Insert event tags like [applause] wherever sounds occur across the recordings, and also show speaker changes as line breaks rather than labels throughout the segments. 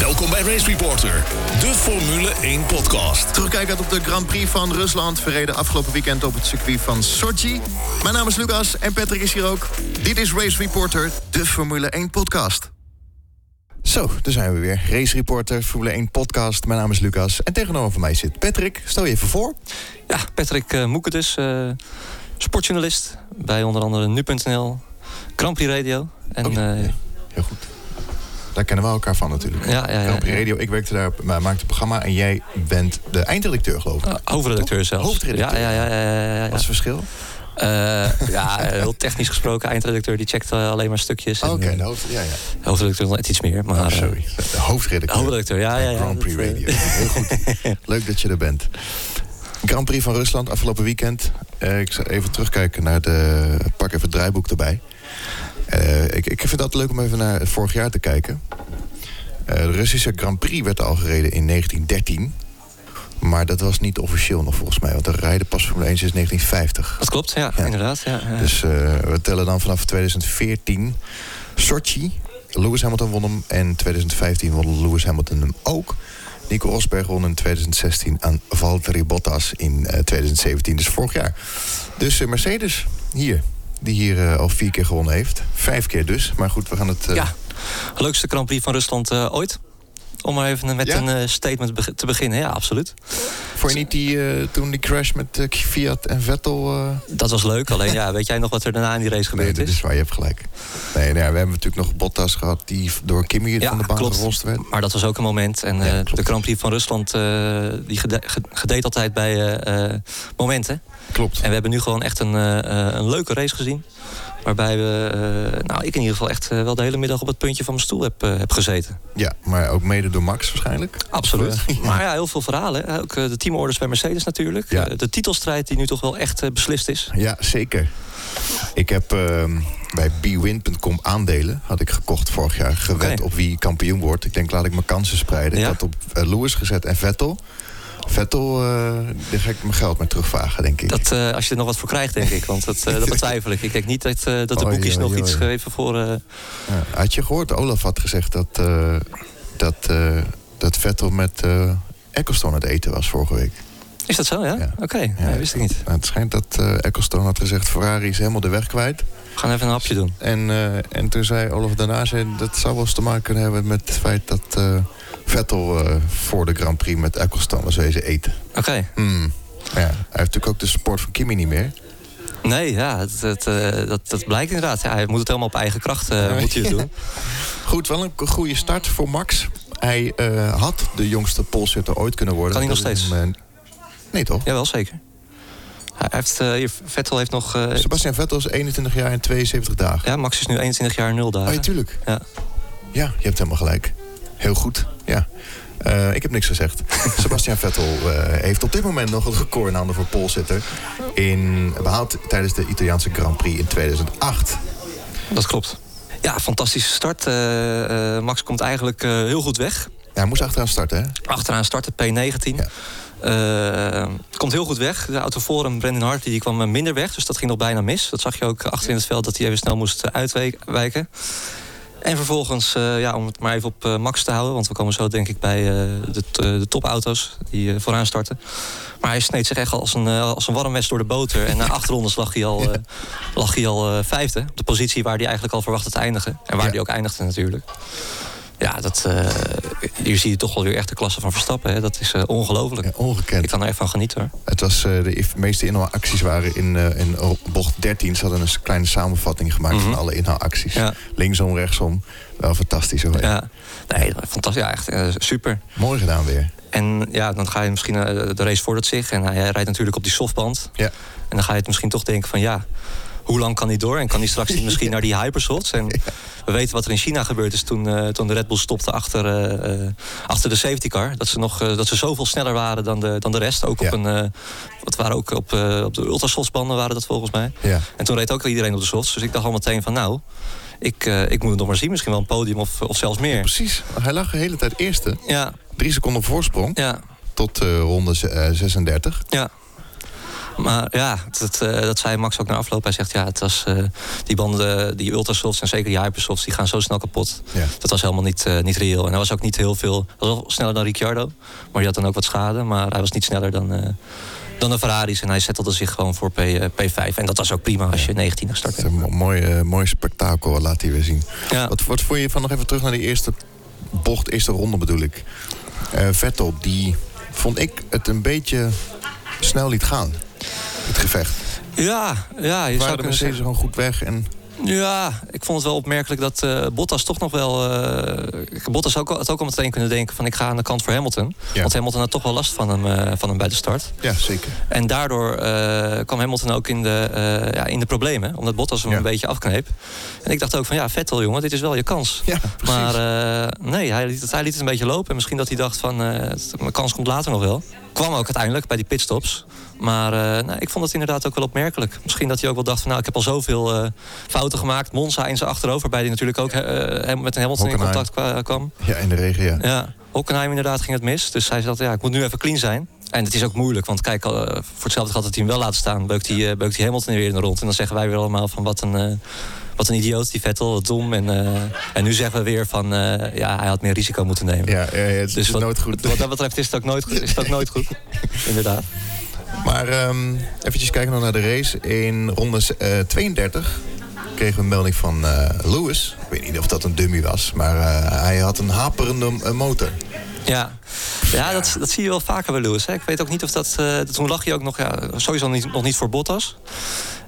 Welkom bij Race Reporter, de Formule 1 podcast.
Terugkijkend op de Grand Prix van Rusland, verreden afgelopen weekend op het circuit van Sochi. Mijn naam is Lucas en Patrick is hier ook. Dit is Race Reporter, de Formule 1 podcast. Zo, daar zijn we weer. Race Reporter, Formule 1 podcast. Mijn naam is Lucas en tegenover mij zit Patrick. Stel je even voor.
Ja, Patrick uh, Moeketus, eh, sportjournalist bij onder andere nu.nl, Grand Prix Radio. En,
Oké.
eh,
Heel goed. Daar kennen we elkaar van natuurlijk.
ja, ja, ja,
Grand Prix Radio, ik werkte daar, maar maakte het programma en jij bent de eindredacteur geloof ik.
Eh, hoofdredacteur zelfs.
Hoofdredacteur.
Ja, ja, ja. ja, ja, ja,
Wat is het verschil?
Eh, ja, heel technisch gesproken. Eindredacteur die checkt eh, alleen maar stukjes. en,
Oké,
eh,
de hoofd, ja, ja.
Hoofdredacteur nog net iets meer. Maar,
Oh,
eh,
sorry. De hoofdredacteur.
hoofdredacteur, ja, ja, ja.
Grand Prix
dat, eh, [laughs]
Radio. Heel goed. Leuk dat je er bent. Grand Prix van Rusland afgelopen weekend. Eh, ik zal even terugkijken naar de... Pak even het draaiboek erbij. Eh, ik, ik vind het altijd leuk om even naar het vorig jaar te kijken. Eh, de Russische Grand Prix werd al gereden in 1913. Maar dat was niet officieel nog volgens mij. Want er rijden pas Formule 1 sinds 1950.
dat klopt, ja,
Ja.
inderdaad. Ja, ja.
Dus eh, we tellen dan vanaf 2014 Sochi. Lewis Hamilton won hem. En 2015 won Lewis Hamilton hem ook. Nico Rosberg won in 2016 aan Valtteri Bottas in eh, 2017. Dus vorig jaar. Dus eh, Mercedes hier. Die hier eh, al vier keer gewonnen heeft. Vijf keer dus. Maar goed, we gaan het... eh,
Ja, leukste Grand Prix van Rusland eh, ooit. Om maar even met
Ja?
een eh, statement beg- te beginnen. Ja, absoluut.
Vond je niet die, eh, toen die crash met eh, Fiat en Vettel... eh,
Dat was leuk. Alleen, ja, weet jij nog wat er daarna in die race
Nee,
gebeurd
dat
is?
is waar, je hebt gelijk. Nee, nou ja, we hebben natuurlijk nog Bottas gehad... die door Kimi van de baan geronst werd.
Maar dat was ook een moment. En
Ja,
eh,
klopt.
de Grand Prix van Rusland eh, die gede- ge- gedeed altijd bij eh, eh, momenten.
Klopt.
En we hebben nu gewoon echt een, eh, eh, een leuke race gezien. Waarbij we, eh, nou ik in ieder geval echt eh, wel de hele middag op het puntje van mijn stoel heb, eh, heb gezeten.
Ja, maar ook mede door Max waarschijnlijk. Of, eh,
[laughs] Maar ja, heel veel verhalen. hè. Ook eh, de teamorders bij Mercedes natuurlijk.
Ja.
Eh, de titelstrijd die nu toch wel echt eh, beslist is.
Ja, zeker. Ik heb ehm, bij bwin.com aandelen, had ik gekocht vorig jaar, gewet
Oké.
op wie kampioen wordt. Ik denk, laat ik mijn kansen spreiden.
Ja?
Ik had op eh, Lewis gezet en Vettel. Vettel, eh, daar ga ik mijn geld mee terugvragen, denk ik.
Dat, eh, als je er nog wat voor krijgt, denk ik. Want dat,
[laughs]
eh, dat betwijfel ik. Ik denk niet dat, eh, dat de
Oei,
boekjes
oei,
nog
oei.
iets geven voor... eh,
Ja. Had je gehoord, Olaf had gezegd dat, eh, dat, eh, dat Vettel met eh Ecclestone aan het eten was vorige week.
Is dat zo, ja?
Ja.
Oké, nee, wist ik niet.
Nou, het schijnt dat eh Ecclestone had gezegd, Ferrari is helemaal de weg kwijt.
We gaan even een hapje doen.
En, eh, en toen zei Olaf daarna, zei, dat zou wel eens te maken kunnen hebben met het feit dat eh, Vettel eh, voor de Grand Prix met Eccleston was wezen eten.
Oké.
Hmm. Ja, hij heeft natuurlijk ook de support van Kimi niet meer.
Nee, ja, het- het, eh, dat, dat blijkt inderdaad. Ja, hij moet het helemaal op eigen kracht eh,
Ja.
moet hij het doen.
[laughs] Goed, wel een goede start voor Max. Hij eh, had de jongste polsitter ooit kunnen worden.
Kan hij
Dat
nog
is
steeds?
hem, eh, nee toch?
Jawel, zeker. Hij heeft, eh, hier, Vettel heeft nog... eh,
Sebastian Vettel is 21 jaar en 72 dagen.
ja, Max is nu 21 jaar 0
Oh, ja,
dagen.
tuurlijk.
Ah, Ja.
Ja, je hebt helemaal gelijk. Heel goed, ja. Eh, ik heb niks
[laughs]
gezegd. Sebastian Vettel eh, heeft op dit moment nog het record in handen voor polsitter. In, behaald tijdens de Italiaanse Grand Prix in 2008.
Dat klopt. Ja, fantastische start. Eh, eh, Max komt eigenlijk eh, heel goed weg.
Ja, hij moest achteraan starten, hè?
Achteraan starten, P19.
Ja.
Eh, komt heel goed weg. De auto voor hem, Brendan Hartley, die kwam eh, minder weg. Dus dat ging nog bijna mis. Dat zag je ook achter in het veld, dat hij even snel moest eh, uitwijken. En vervolgens, eh, ja, om het maar even op eh, max te houden... want we komen zo denk ik bij eh, de, t- eh, de topauto's die eh, vooraan starten. Maar hij sneed zich echt als een, eh, als een warm mes door de boter. En na acht [laughs] rondes lag hij al, eh, lag hij al eh, vijfde. Op de positie waar hij eigenlijk al verwachtte te eindigen. En waar
Ja.
hij ook eindigde natuurlijk. Ja, dat, eh, hier zie je toch wel weer echt de klasse van Verstappen. Hè? Dat is eh, ongelooflijk.
Ja, ongekend.
Ik kan er echt van genieten hoor.
Het was, eh, de if- meeste inhaalacties waren in, eh, in bocht 13. Ze hadden een s- kleine samenvatting gemaakt van alle inhaalacties.
Mhm. Ja.
Linksom, rechtsom. Wel fantastisch hoor.
Ja, nee, fantastisch. Ja, echt eh, super.
Mooi gedaan weer.
En ja, dan ga je misschien eh, de race voordat zich. En hij rijdt natuurlijk op die softband.
Ja.
En dan ga je het misschien toch denken van ja, hoe lang kan hij door? En kan hij straks niet misschien naar die hypershots? En we weten wat er in China gebeurd is toen, eh, toen de Red Bull stopte achter, eh, eh, achter de safety car. Dat ze, nog, eh, dat ze zoveel sneller waren dan de, dan de rest. Ook
Ja.
op een, eh, het waren ook op, eh, op de ultrasoftbanden waren dat volgens mij.
Ja.
En toen reed ook iedereen op de softs. Dus ik dacht al meteen van nou, ik, eh, ik moet het nog maar zien. Misschien wel een podium of, of zelfs meer.
Precies. Hij lag de hele tijd eerste.
Ja,
Drie seconden voorsprong
ja,
tot eh, ronde z- eh, 36.
ja. Maar ja, dat, eh, dat zei Max ook na afloop. Hij zegt, ja, het was, eh, die banden, die ultrasofts en zeker die hypersofts... die gaan zo snel kapot.
Ja.
Dat was helemaal niet, eh, niet reëel. En hij was ook niet heel veel... Hij was wel sneller dan Ricciardo. Maar die had dan ook wat schade. Maar hij was niet sneller dan, eh, dan de Ferraris. En hij zettelde zich gewoon voor P, eh, P5. En dat was ook prima als je 19 start
Het is
bent.
een mo- mooi, eh, mooi spektakel, laat hij weer zien.
Ja.
Wat, wat vond je van nog even terug naar die eerste bocht, eerste ronde bedoel ik? Eh, Vettel, die vond ik het een beetje snel liet gaan. Het gevecht.
Ja, ja, je
Waren
zou
de
kunnen
Mercedes
zeggen.
gewoon goed weg en
Ja, ik vond het wel opmerkelijk dat eh, Bottas toch nog wel. eh, Bottas ook, al- had ook al meteen kunnen denken: van ik ga aan de kant voor Hamilton.
Ja.
Want Hamilton had toch wel last van hem, eh, van hem bij de start.
ja, zeker.
En daardoor eh, kwam Hamilton ook in de, eh, ja, in de problemen. Omdat Bottas hem
Ja.
een beetje afkneep. En ik dacht ook: van ja, Vettel jongen, dit is wel je kans.
Ja, precies.
Maar eh, nee, hij liet, het, hij liet het een beetje lopen. En misschien dat hij dacht van, eh, het- mijn kans komt later nog wel. Kwam ook uiteindelijk bij die pitstops. Maar eh, nou, ik vond het inderdaad ook wel opmerkelijk. Misschien dat hij ook wel dacht van, nou, ik heb al zoveel eh, fouten gemaakt. Monza in zijn achterover, bij die natuurlijk ook eh, hem- met Hamilton in
Hockenheim.
contact kwa- kwam.
ja, in de regen, ja.
Ja, Hockenheim inderdaad ging het mis. Dus hij zei, ja, ik moet nu even clean zijn. En het is ook moeilijk, want kijk, eh, voor hetzelfde geld dat hij hem wel laat staan, beukt hij, eh, beukt hij Hamilton weer in de rond. En dan zeggen wij weer allemaal van wat een, eh, wat een idioot, die Vettel, wat dom. En, eh, en nu zeggen we weer van, eh, ja, hij had meer risico moeten nemen.
Ja, ja, ja, het
Dus
is
wat,
nooit goed.
wat dat betreft is het ook nooit, goed- is het ook nooit
[laughs]
goed. Inderdaad.
Maar ehm eventjes kijken dan naar de race. In ronde eh, 32 kregen we een melding van eh, Lewis. Ik weet niet of dat een dummy was, maar eh, hij had een haperende eh, motor.
Ja, ja dat, dat zie je wel vaker bij Lewis. Hè. Ik weet ook niet of dat... eh, toen lag hij ook nog ja, sowieso niet, nog niet voor Bottas.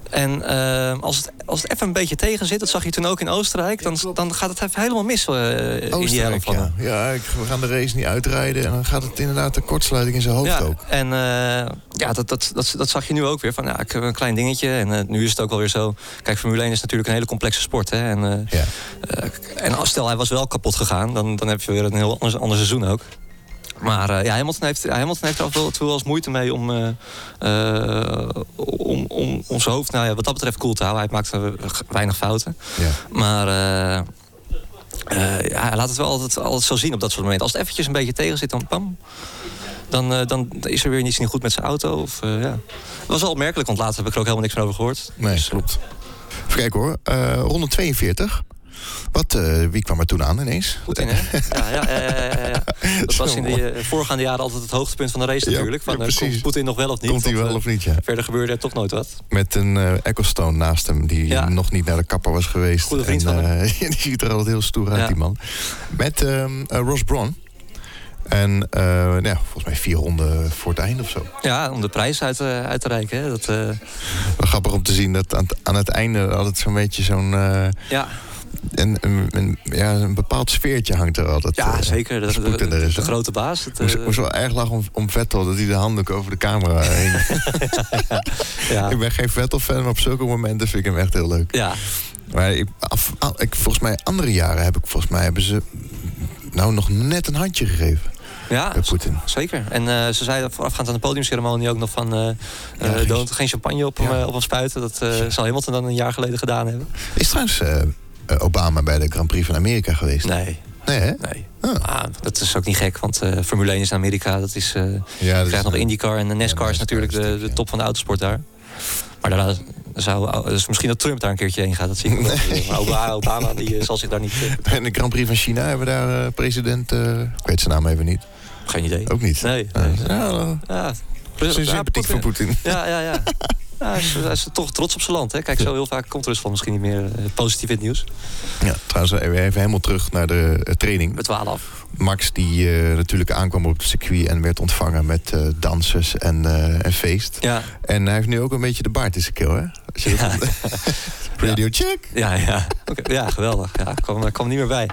En eh, als, het, als het even een beetje tegen zit, dat zag je toen ook in Oostenrijk... dan, dan gaat het even helemaal mis eh, in die helm
Oostenrijk,
van
ja.
hem.
ja ik, we gaan de race niet uitrijden. En dan gaat het inderdaad de kortsluiting in zijn hoofd ook.
en eh, ja, dat, dat, dat, dat zag je nu ook weer. Van, ja, ik heb een klein dingetje en eh, nu is het ook wel weer zo. Kijk, Formule 1 is natuurlijk een hele complexe sport. Hè, en, eh,
Ja.
Eh, en als stel hij was wel kapot gegaan, dan, dan heb je weer een heel ander, ander seizoen ook. Maar eh, ja, Hamilton heeft, Hamilton heeft er af en toe- toe wel eens moeite mee om, eh, eh, om, om, om zijn hoofd nou, ja, wat dat betreft cool te houden. Hij maakt eh, weinig fouten.
Ja.
Maar eh, eh, ja, hij laat het wel altijd, altijd zo zien op dat soort momenten. Als het eventjes een beetje tegen zit, dan pam. Dan, eh, dan is er weer iets niet goed met zijn auto. Of, eh, ja. Het was wel opmerkelijk, want later heb ik er ook helemaal niks meer over gehoord.
Nee,
Dus,
klopt. Even kijken hoor. Eh, ronde 42. Wat, eh, wie kwam er toen aan ineens? Eh,
Goed in, hè? [laughs] Ja, ja, ja, ja, ja,
[laughs]
ja. Dat was in de eh, voorgaande jaren altijd het hoogtepunt van de race
Ja,
natuurlijk. Van,
ja,
eh,
precies.
komt Poetin nog wel of niet?
Komt hij
Want,
wel
eh,
of niet, ja.
Verder gebeurde er toch nooit wat.
Met een eh Ecclestone naast hem, die
Ja.
nog niet naar de kapper was geweest.
Goede vriend van
eh, [laughs] Die ziet er altijd heel stoer uit,
Ja.
die man. Met ehm, eh, Ross Brawn. En eh, nou ja, volgens mij vier ronden voor het einde of zo.
Ja, om de prijs uit, eh, uit te reiken. Hè. Dat, eh,
Wel grappig om te zien dat aan het, aan het einde altijd zo'n beetje zo'n... eh,
ja,
een, een, een- ja, een bepaald sfeertje hangt er altijd.
ja,
eh,
zeker.
als
De, de,
Poetin er
de-
is,
de
hè?
grote baas. Het, eh,
Moest, moest wel erg lachen om, om Vettel, dat hij de handdoek over de camera heen.
[laughs] ja,
ik ben geen Vettel-fan, maar op zulke momenten vind ik hem echt heel leuk.
ja,
Maar ik, af- a- ik, volgens mij andere jaren heb ik, volgens mij hebben ze nou nog net een handje gegeven
Ah, ja,
bij Poetin.
zeker. En eh, ze zeiden voorafgaand aan de podiumceremonie ook nog van... eh eh,
Ja, geen-
don't geen champagne op hem,
Ja.
eh, op hem spuiten. Dat eh, zal Hamilton dan een jaar geleden gedaan hebben.
Is trouwens eh, eh, Obama bij de Grand Prix van Amerika geweest?
Nee,
Nee, hè?
nee.
Ah.
Ah, dat is ook niet gek, want eh, Formule 1 is in Amerika. Dat is... eh,
Ja,
Je
dat
krijgt
is-
nog
[laughs]
IndyCar en de NASCAR is
NASCAR
natuurlijk
is
de,
natuurlijk,
de
ja.
top van de autosport daar. Maar daarna zou dus misschien dat Trump daar een keertje heen gaat. Dat zie ik nog. Maar Obama, Obama die eh, zal zich daar niet. eh,
En de Grand Prix van China hebben we daar eh, president... eh, ik weet zijn naam even niet.
geen idee.
Ook niet.
Nee.
Eh,
nee.
ja, wel.
Ja,
Ze zijn sympathiek voor Poetin.
Ja, ja, ja. Ja, hij is, hij is toch trots op zijn land. Hè? Kijk, zo heel vaak komt Rusland misschien niet meer eh, positief in het nieuws.
Ja, trouwens, eh, even helemaal terug naar de eh, training.
We dwalen af.
Max die eh, natuurlijk aankwam op het circuit en werd ontvangen met eh dansers en, eh, en feest.
Ja,
En hij heeft nu ook een beetje de baard in zijn keel, hè? Als je dat
[laughs]
Radio check.
ja, ja. Oké, ja geweldig. Ja, ik kwam, ik kwam niet meer bij.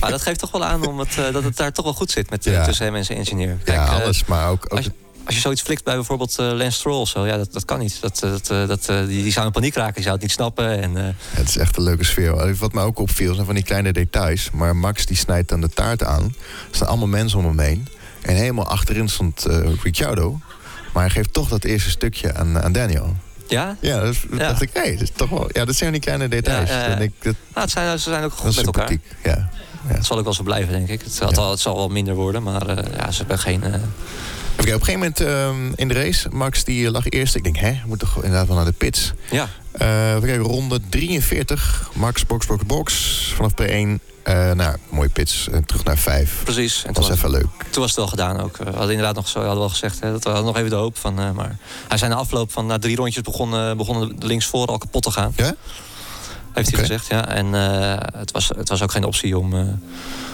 Maar dat geeft toch wel aan om het, eh, dat het daar toch wel goed zit met, eh,
Ja.
tussen hem en zijn engineer. Kijk,
Ja,
eh,
alles, maar ook... ook
Als je, als je zoiets flikt bij bijvoorbeeld eh, Lance Stroll of zo, ja, dat, dat kan niet. Dat, eh, dat, eh, dat, eh, die, die zou in paniek raken, die zou het niet snappen. En, eh,
het is echt een leuke sfeer. Wat mij ook opviel zijn van die kleine details. Maar Max die snijdt dan de taart aan. Er staan allemaal mensen om hem heen. En helemaal achterin stond eh, Ricciardo. Maar hij geeft toch dat eerste stukje aan, aan Daniel.
ja,
Ja, dat is-
Ja.
dacht ik, hé, dat is toch wel... Ja, dat zijn die kleine details.
Ja, ja, ja.
Dan denk ik, dat,
nou, het zijn, ze zijn ook goed
dat
met
is
elkaar.
sympathiek. Ja.
Dat zal ook wel zo blijven, denk ik. Het, had
Ja.
al, het zal wel minder worden, maar eh, ja, ze hebben geen, eh,
Oké, op een gegeven moment ehm, in de race, Max die eh, lag eerst. Ik denk, hè, moet toch inderdaad wel naar de pits.
Ja,
Eh, even kijken, ronde 43. Max, box, box, box. Vanaf P1, eh nou, mooie pits. En terug naar 5.
precies. En
Dat
toen
was
was,
even leuk.
toen was het wel gedaan ook. Eh, We hadden inderdaad nog zo, hadden we al gezegd, hè, dat we hadden nog even de hoop van. eh, maar hij zijn na afloop van na drie rondjes begonnen, eh, begonnen de linksvoor al kapot te gaan.
Ja?
Heeft hij
Oké.
gezegd, ja. En eh, het, was, het was ook geen optie om, eh,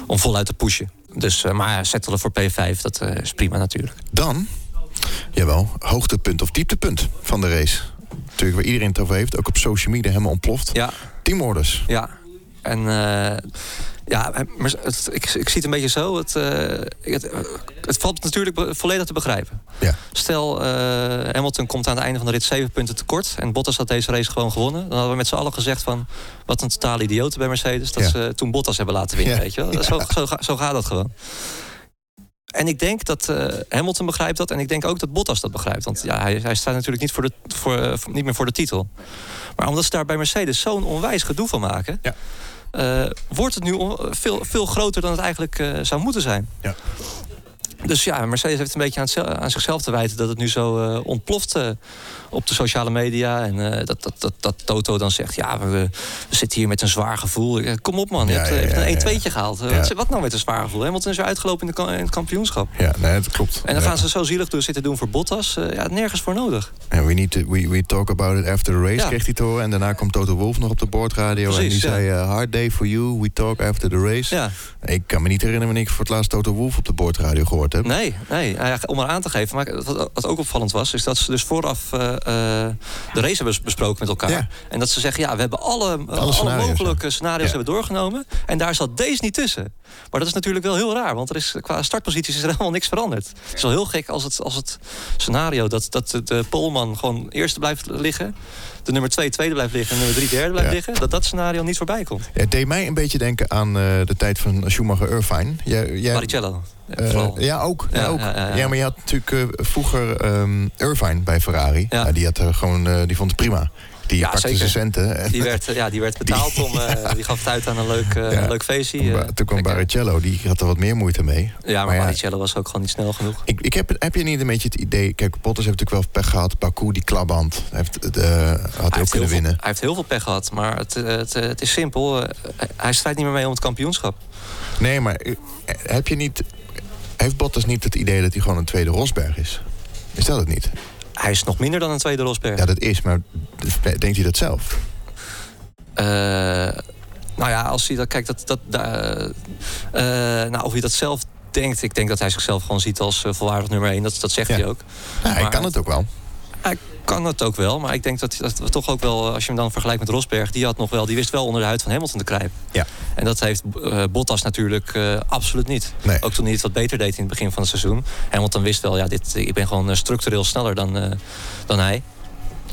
om voluit te pushen. Dus, eh, maar settelen voor P5, dat eh, is prima natuurlijk.
Dan, jawel, hoogtepunt of dieptepunt van de race. Natuurlijk waar iedereen het over heeft, ook op social media helemaal ontploft.
Ja,
Teamorders.
Ja, en eh, ja, maar het, ik, ik zie het een beetje zo. Het, eh, het, het valt natuurlijk be- volledig te begrijpen.
Ja.
Stel, eh, Hamilton komt aan het einde van de rit zeven punten tekort... en Bottas had deze race gewoon gewonnen. Dan hadden we met z'n allen gezegd van... wat een totale idioten bij Mercedes... dat
Ja.
ze toen Bottas hebben laten winnen,
Ja.
weet je wel. Zo, zo, ga- zo gaat dat gewoon. En ik denk dat eh, Hamilton begrijpt dat. En ik denk ook dat Bottas dat begrijpt. Want ja, hij, hij staat natuurlijk niet, voor de, voor, eh, voor- niet meer voor de titel. Maar omdat ze daar bij Mercedes zo'n onwijs gedoe van maken...
Ja.
eh, wordt het nu on- veel, veel groter dan het eigenlijk eh, zou moeten zijn.
Ja.
Dus ja, Mercedes heeft een beetje aan, het zel- aan zichzelf te wijten... dat het nu zo eh, ontploft eh, op de sociale media. En eh, dat, dat, dat, dat Toto dan zegt... ja, we, we zitten hier met een zwaar gevoel. Eh, Kom op man, je
Ja,
hebt,
ja,
eh,
ja, ja.
hebt een 1-2'tje gehaald. Eh,
Ja.
wat, wat nou met een zwaar gevoel? Hamilton is weer uitgelopen in, de ka- in het kampioenschap.
Ja, nee, dat klopt.
En dan
Ja.
gaan ze zo zielig doen, zitten doen voor Bottas. Eh, ja, nergens voor nodig.
En we, need to, we, we talk about it after the race,
Ja.
kreeg hij te horen. En daarna kwam Toto Wolf nog op de boordradio. en
Precies,
die
ja.
zei, eh, hard day for you, we talk after the race.
Ja.
Ik kan me niet herinneren wanneer ik voor het laatst Toto Wolf op de boordradio gehoord heb.
Nee, nee, nou ja, om er aan te geven. Maar wat, wat ook opvallend was, is dat ze dus vooraf eh, eh, de race hebben besproken met elkaar.
Ja.
En dat ze zeggen, ja, we hebben alle, alle,
scenario's,
mogelijke scenario's
Ja.
hebben doorgenomen. En daar zat deze niet tussen. Maar dat is natuurlijk wel heel raar, want er is, qua startposities is er [laughs] helemaal niks veranderd. Het is wel heel gek als het, als het scenario dat, dat de, de Polman gewoon eerste blijft liggen. De nummer twee tweede blijft liggen en de nummer drie derde blijft
Ja.
liggen. Dat dat scenario niet voorbij komt.
Het deed mij een beetje denken aan eh, de tijd van Schumacher-Irvine. Jij, jij,
Baricello, eh,
eh,
vooral.
ja, ook. Ja,
Ja,
ook.
ja,
Ja,
ja, ja.
maar je had natuurlijk eh, vroeger ehm, Irvine bij Ferrari.
Ja.
Nou, die, had, er gewoon, eh, die vond het prima. Die
Ja,
pakte
zeker.
zijn centen. En
Die werd, eh, ja, die werd betaald om. eh, die gaf het uit aan een leuk, eh,
Ja.
een leuk feestje. eh.
[laughs] toen ba- toen kwam
Ik-
Barrichello, die had er wat meer moeite mee.
Ja,
maar
maar
ja.
Baricello was ook gewoon niet snel genoeg.
Ik, ik heb, heb je niet een beetje het idee... Kijk, Bottas heeft natuurlijk wel pech gehad. Baku, die klapband, heeft, eh, had hij ook
heeft heel
kunnen
veel,
winnen.
hij heeft heel veel pech gehad, maar het, eh, het, eh, het is simpel. Eh, Hij strijdt niet meer mee om het kampioenschap.
Nee, maar eh, heb je niet... Heeft Bottas niet het idee dat hij gewoon een tweede Rosberg is? Is dat het niet?
Hij is nog minder dan een tweede Rosberg.
Ja, dat is, maar denkt hij dat zelf?
Eh, nou ja, als hij dat kijkt, dat, dat, da- eh, nou, of hij dat zelf denkt, ik denk dat hij zichzelf gewoon ziet als eh, volwaardig nummer 1. Dat, dat zegt
Ja.
hij ook.
Nou, hij
Maar-
kan het ook wel.
Hij kan het ook wel, maar ik denk dat, dat we toch ook wel, als je hem dan vergelijkt met Rosberg, die had nog wel, die wist wel onder de huid van Hamilton te krijgen.
Ja.
En dat heeft eh, Bottas natuurlijk eh, absoluut niet.
Nee.
Ook toen hij het wat beter deed in het begin van het seizoen. Hamilton wist wel, ja, dit, ik ben gewoon eh, structureel sneller dan, eh, dan hij.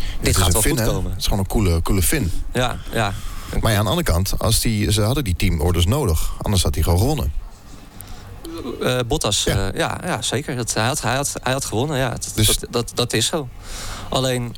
Het
dit
is
gaat
een
wel
Fin,
goed
hè?
komen.
Het is gewoon een coole, coole fin.
Ja, ja.
Maar ja, aan de andere kant, als die, ze hadden die teamorders nodig. Anders had hij gewoon gewonnen.
Eh, Bottas,
Ja.
eh, ja. ja, zeker. Dat, hij, had, hij, had, hij had gewonnen, ja. Dat,
Dus-
dat, dat, dat is zo. Alleen,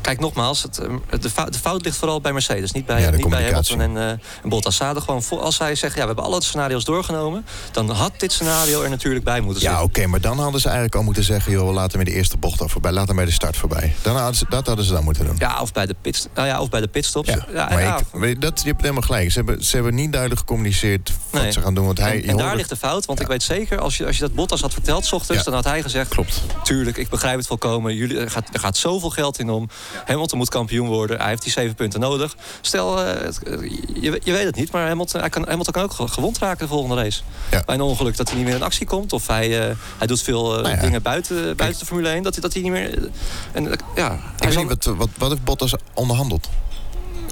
kijk nogmaals, het, eh, de, fout, de fout ligt vooral bij Mercedes. Niet bij,
Ja, de
niet bij
communicatie.
Hamilton en, eh, en Bottas. Ze hadden gewoon, voor- als zij zeggen, ja, we hebben alle scenario's doorgenomen... dan had dit scenario er natuurlijk bij moeten
Ja,
zitten.
oké, maar dan hadden ze eigenlijk al moeten zeggen... joh, we laten hem in de eerste bocht af voorbij. Laat hem bij de start voorbij. Dan hadden ze, dat hadden ze dan moeten doen.
Ja, of bij de, pit, nou ja, of bij de pitstops. Ja,
maar
ja,
ik, weet je, dat, je hebt helemaal gelijk. Ze hebben, ze hebben niet duidelijk gecommuniceerd wat
Nee.
ze gaan doen. Want hij,
en,
je
en daar
hoorde-
ligt de fout, want
Ja.
ik weet zeker, als je, als je dat Bottas had verteld s ochtends,
Ja.
dan had hij gezegd:
Klopt.
Tuurlijk, ik begrijp het volkomen. Jullie, er, gaat, er gaat zoveel geld in om. Hamilton moet kampioen worden. Hij heeft die zeven punten nodig. Stel, eh, het- eh, je, je weet het niet, maar Hamilton, hij kan, Hamilton kan ook ge- gewond raken de volgende race.
Ja.
Bij een ongeluk dat hij niet meer in actie komt, of hij, eh, hij doet veel eh,
Nou ja.
dingen buiten, buiten de Formule 1, dat hij, dat hij niet meer. En, eh, ja,
Ik
hij
weet
zal-
niet, wat, wat, wat heeft Bottas onderhandeld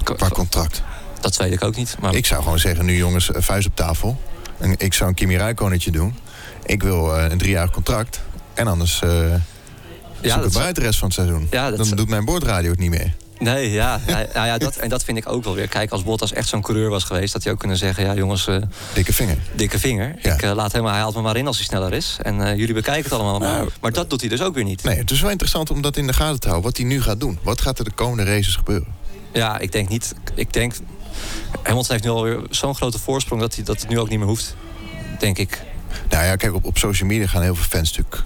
qua contract?
dat weet ik ook niet. Maar
Ik zou gewoon zeggen, nu jongens, eh, vuist op tafel. En ik zou een Kimi Räikkönetje doen. Ik wil eh, een driejarig contract. En anders eh
ja,
zoek het
dat zou-
maar uit de rest van het seizoen.
Ja, dat
dan
zou-
doet mijn boordradio het niet meer.
Nee, ja. ja, nou ja dat, en dat vind ik ook wel weer. Kijk, als Bottas echt zo'n coureur was geweest... had hij ook kunnen zeggen, ja jongens, eh,
Dikke vinger.
dikke vinger.
Ja.
Ik eh, laat helemaal, hij haalt me maar in als hij sneller is. En eh, jullie bekijken het allemaal maar.
Nou,
maar dat doet hij dus ook weer niet.
Nee, het is wel interessant om dat in de gaten te houden. Wat hij nu gaat doen. Wat gaat er de komende races gebeuren?
Ja, ik denk niet... Ik denk... Hamilton heeft nu alweer zo'n grote voorsprong... Dat, hij, dat het nu ook niet meer hoeft, denk ik.
Nou ja, kijk, op, op social media gaan heel veel fans natuurlijk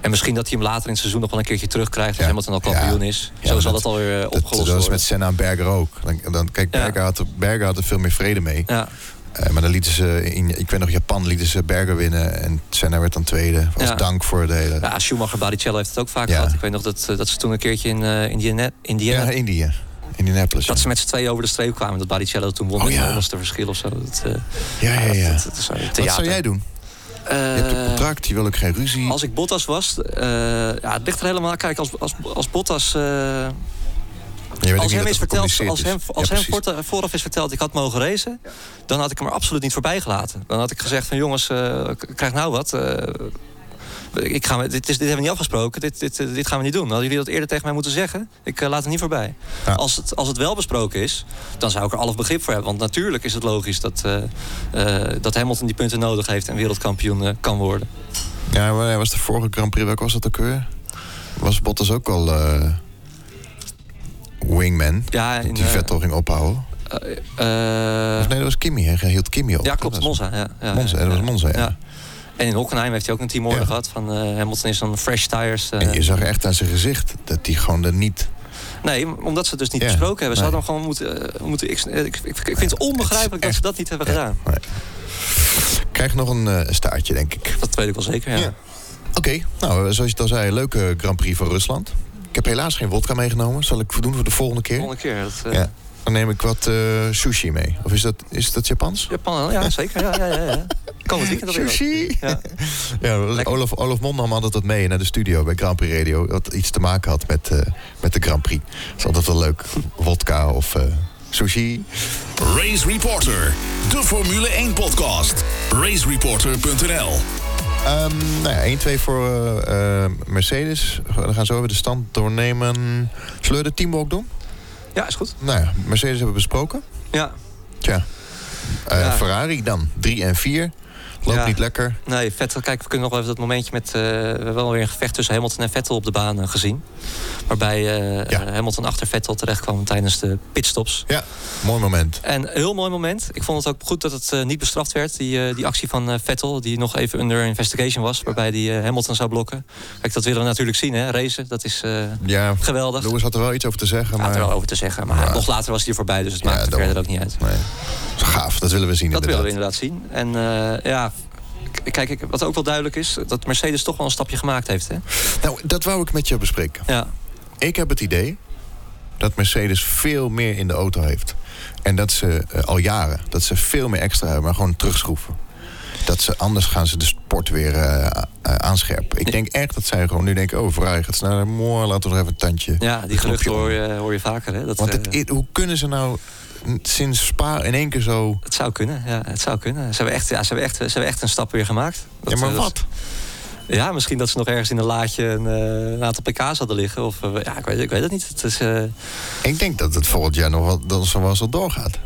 En misschien dat hij hem later in het seizoen nog wel een keertje terugkrijgt. Als
Ja.
Hamilton al kampioen
Ja.
is.
Ja,
Zo
maar
zal
dat-
dat alweer eh,
Dat,
opgelost
dat was
worden.
met Senna en Berger ook. Dan, dan, kijk,
Ja.
Berger, had, er- Berger had er veel meer vrede mee.
Ja,
Eh, maar dan lieten ze, in, ik weet nog, Japan lieten ze Berger winnen. En Senna werd dan tweede. Als
Ja.
dank voor de hele... Ja,
ja, Schumacher, Barrichello heeft het ook vaak
Ja.
gehad. Ik weet nog dat, eh, dat ze toen een keertje in eh, Indiana, Indiana
Indië. Indianapolis.
Dat ze met z'n tweeën over de streep kwamen. Dat Barrichello toen won
Oh,
met
ja.
een onderste verschil of zo. Dat, eh,
ja, ja, ja.
dat- dat is een
Wat
theater.
zou jij doen? Je hebt een
Eh,
contract, je wil ook geen ruzie.
als ik Bottas was... eh, ja, het ligt er helemaal aan. Kijk, als, als, als Bottas... eh,
Je weet ook
als
niet
hem,
dat
is
het
verteld,
gecommuniceerd
als
is.
hem, als
Ja,
hem
precies.
voorta- vooraf is verteld ik had mogen racen... dan had ik hem er absoluut niet voorbij gelaten. Dan had ik gezegd van jongens, eh, k- krijg nou wat... eh, ik ga, me- dit, is, dit hebben we niet afgesproken, dit, dit, eh, dit gaan we niet doen. Hadden jullie dat eerder tegen mij moeten zeggen? Ik eh, laat het niet voorbij.
Ja.
Als, het, als het wel besproken is, dan zou ik er alles begrip voor hebben. Want natuurlijk is het logisch dat, eh, eh, dat Hamilton die punten nodig heeft... en wereldkampioen eh, kan worden.
Ja, maar hij was de vorige Grand Prix, welke was dat ook weer? Was Bottas ook al eh, wingman?
Ja, in,
Die
eh,
Vettel ging ophouden.
eh,
Of nee, dat was Kimi. Hij hield Kimi op.
ja, klopt,
Dat was-
Monza. Ja, ja,
Monza, hè, dat was Monza, ja.
En in Hockenheim heeft hij ook een teamorder
Ja.
gehad van eh, Hamilton is dan fresh tires. eh.
En je zag echt aan zijn gezicht dat hij gewoon er niet...
Nee, m- omdat ze het dus niet
Ja,
besproken hebben. Ze
nee.
hadden hem gewoon moeten... eh, moeten ik, ik, ik, ik vind het onbegrijpelijk
Het is
dat
echt-
ze dat niet hebben gedaan.
Nee. Krijg nog een eh, staartje, denk ik.
Dat weet ik wel zeker, ja.
Ja. Oké, nou, eh, zoals je het al zei, leuke Grand Prix van Rusland. Ik heb helaas geen wodka meegenomen. Zal ik doen voor de volgende keer?
Volgende keer. Dat, eh,
Ja. Dan neem ik wat eh, sushi mee. Of is dat, is dat Japans?
Japan, ja, zeker. Ja, ja, ja, ja. Kan het weekend alweer.
Sushi!
Ja.
[laughs] Ja,
Lekker.
Olaf, Olaf Mondam had dat mee naar de studio bij Grand Prix Radio. Wat iets te maken had met, eh, met de Grand Prix. Dat is altijd wel leuk. Wodka of eh, sushi.
Race Reporter, de Formule 1 podcast. Racereporter.nl.
Ehm nou ja, 1-2 voor eh, eh, Mercedes. We gaan zo weer de stand doornemen. Zullen we de teamwalk doen?
ja, is goed.
Nou ja, Mercedes hebben we besproken.
Ja.
Tja. Eh,
Ja.
Ferrari dan. 3 en 4. Loopt
Ja.
niet lekker.
Nee, Vettel, kijk, we kunnen nog wel even dat momentje met... eh, we hebben wel weer een gevecht tussen Hamilton en Vettel op de baan eh, gezien. Waarbij eh,
Ja.
eh, Hamilton achter Vettel terecht kwam tijdens de pitstops.
Ja, mooi moment.
En een heel mooi moment. Ik vond het ook goed dat het eh, niet bestraft werd. Die, eh, die actie van eh, Vettel, die nog even under investigation was. Waarbij die eh, Hamilton zou blokken. Kijk, dat willen we natuurlijk zien, hè. Racen, dat is eh,
Ja,
geweldig.
Lewis had er wel iets over te zeggen.
Gaat er wel
Maar...
over te zeggen. Maar
Ja.
nog later was hij er voorbij, dus het
Ja,
maakt
daarom.
verder ook niet uit.
Nee. Gaaf, dat willen we zien
Dat willen we
inderdaad.
inderdaad zien. En eh, ja, k- kijk, ik- wat ook wel duidelijk is... dat Mercedes toch wel een stapje gemaakt heeft, hè.
Nou, dat wou ik met je bespreken.
Ja.
Ik heb het idee dat Mercedes veel meer in de auto heeft. En dat ze eh, al jaren, dat ze veel meer extra hebben, maar gewoon terugschroeven. Dat ze anders gaan ze de sport weer eh, a- eh, aanscherpen. Ik denk echt dat zij gewoon nu denken: oh, Ferrari gaat sneller. Mooi, laten we er even een tandje.
Ja,
knopje
die geruchten
om.
hoor je, hoor je vaker. Hè? Dat,
Want
eh,
het,
het,
i- hoe kunnen ze nou n- sinds Spa in één keer zo.
zou kunnen, ja, het zou kunnen. Ze hebben echt, ja, ze hebben echt, ze hebben echt een stap weer gemaakt. Dat,
ja, maar
eh, dat-
wat?
ja, misschien dat ze nog ergens in een laadje een, eh, een aantal pk's hadden liggen. Of, eh, ja, ik weet, ik weet het niet. Het is, eh,
Ik denk dat het volgend jaar nog wel dan zoals het doorgaat.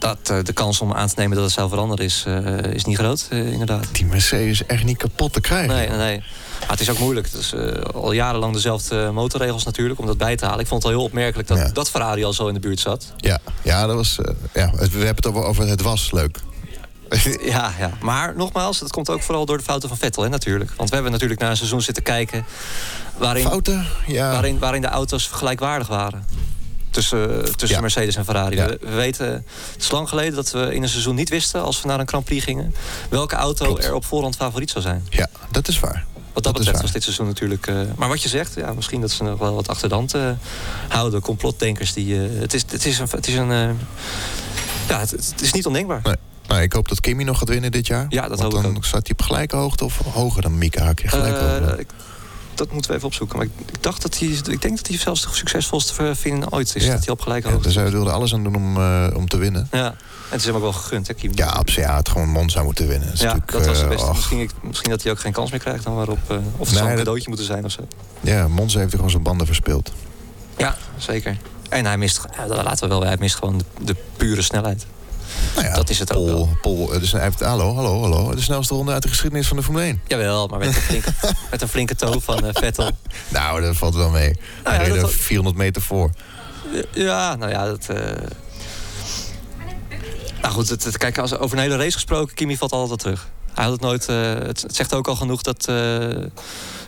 dat, eh, de kans om aan te nemen dat het zou veranderen is, eh, is niet groot, eh, inderdaad.
Die Mercedes echt niet kapot te krijgen.
Nee, nee, nee. Maar het is ook moeilijk. Het is eh, al jarenlang dezelfde eh, motorregels natuurlijk, om dat bij te halen. Ik vond het al heel opmerkelijk dat,
Ja.
dat Ferrari al zo in de buurt zat.
Ja, ja, dat was. eh, ja, het- we hebben het over, over het was leuk.
Ja, ja, maar nogmaals, dat komt ook vooral door de fouten van Vettel, hè, natuurlijk. Want we hebben natuurlijk naar een seizoen zitten kijken... waarin,
Fouten? Ja.
waarin, waarin de auto's gelijkwaardig waren. Tussen, tussen
Ja.
Mercedes en Ferrari.
Ja.
We, we weten, het is lang geleden dat we in een seizoen niet wisten... als we naar een Grand Prix gingen... welke auto
Klopt.
er op voorhand favoriet zou zijn.
Ja, dat is waar.
Wat dat,
Dat is
betreft
waar.
was dit seizoen natuurlijk... eh, maar wat je zegt, ja, misschien dat ze nog wel wat achter de hand eh, houden. Complotdenkers die... eh, het, is, het is een... Het is een eh, ja, het, het is niet ondenkbaar.
Nee. Nou, ik hoop dat Kimmy nog gaat winnen dit jaar.
Ja, dat
Want
hoop ik
dan
ook.
staat hij op gelijke hoogte of hoger dan Mika Haakje. Gelijk
Eh,
hoogte.
ik- dat moeten we even opzoeken. Maar ik, ik dacht dat hij... Ik denk dat hij zelfs de succesvolste vinden ooit is.
Ja.
Dat hij op gelijke
Ja,
hoogte
dus
is.
hij wilde alles aan doen om, eh, om te winnen.
Ja. En het is hem ook wel gegund, hè, Kim?
Ja, op zich ja, het gewoon Monza moeten winnen. Dat is
Ja,
natuurlijk,
dat was het
eh,
beste.
ach,
misschien, ik- misschien dat hij ook geen kans meer krijgt dan waarop. eh, of het
Nee,
zou een
dat-
cadeautje moeten zijn of zo.
ja, Monza heeft er gewoon zijn banden verspeeld.
Ja, zeker. En hij mist, ja, dat laten we wel, hij mist gewoon de, de pure snelheid.
Nou ja,
Dat is het ook
Pol,
wel.
Pol, eh, dus hij heeft, hallo, hallo, hallo. De snelste ronde uit de geschiedenis van de Formule 1.
Jawel, maar met een
[laughs]
flinke, met een flinke toe van eh, Vettel.
Nou, dat valt wel mee. Hij
ja,
reed
dat
er
was-
400 meter voor.
Ja, nou ja, dat... eh, Nou goed, het, het- kijk, als, over een hele race gesproken, Kimi valt altijd terug. Hij Hij had het nooit. eh, het, het zegt ook al genoeg dat. eh,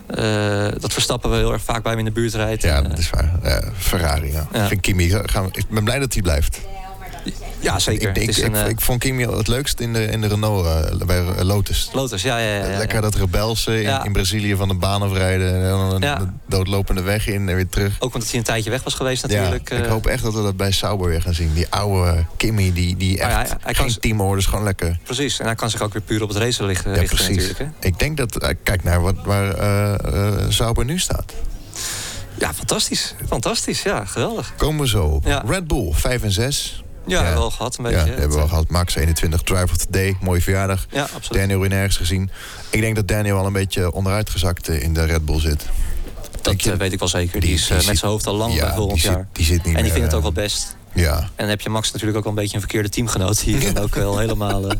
eh, dat Verstappen wel heel erg vaak bij hem in de buurt rijdt.
Ja,
En, eh,
dat is waar. Ja, Ferrari, ja.
Ja.
Ik vind Kimi, gaan we- ik ben blij dat hij blijft.
ja zeker.
Ik, ik,
het is
ik,
een, eh,
ik vond Kimi het leukst in de, in de Renault, eh, bij eh, Lotus.
Lotus, ja, ja, ja. ja,
Lekker
ja.
dat rebelse in,
Ja.
in Brazilië van de baan afrijden. En dan een
Ja.
doodlopende weg in en weer terug.
Ook omdat hij een tijdje weg was geweest natuurlijk.
Ja,
eh,
ik hoop echt dat we dat bij Sauber weer gaan zien. Die oude Kimmy, die, die
Maar
echt
Oh ja, hij- hij kan
geen
z-
teamorders, gewoon lekker.
Precies. En hij kan zich ook weer puur op het racen liggen,
Ja,
richten
precies.
natuurlijk. Hè?
Ik denk dat, eh, kijk naar wat, waar eh, eh, Sauber nu staat.
Ja, fantastisch. Fantastisch, ja. Geweldig.
Komen we zo op.
Ja.
Red Bull, 5 en 6.
Ja,
Ja.
wel gehad een
Ja,
beetje.
die
hè.
hebben we al gehad. Max 21, Drive of the Day, mooie verjaardag.
Ja, absoluut.
Daniel weer nergens gezien. Ik denk dat Daniel al een beetje onderuitgezakt eh, in de Red Bull zit.
Dat
Denk je-
eh, weet ik wel zeker. Die,
die-
is
die
eh,
zit-
met zijn hoofd al lang bij volgend
die,
jaar.
Zit, die zit niet
en die
meer,
vindt het ook
eh,
wel best.
Ja,
En dan heb je Max natuurlijk ook wel een beetje een verkeerde
[laughs]
teamgenoot. Die je dan ook wel helemaal eh,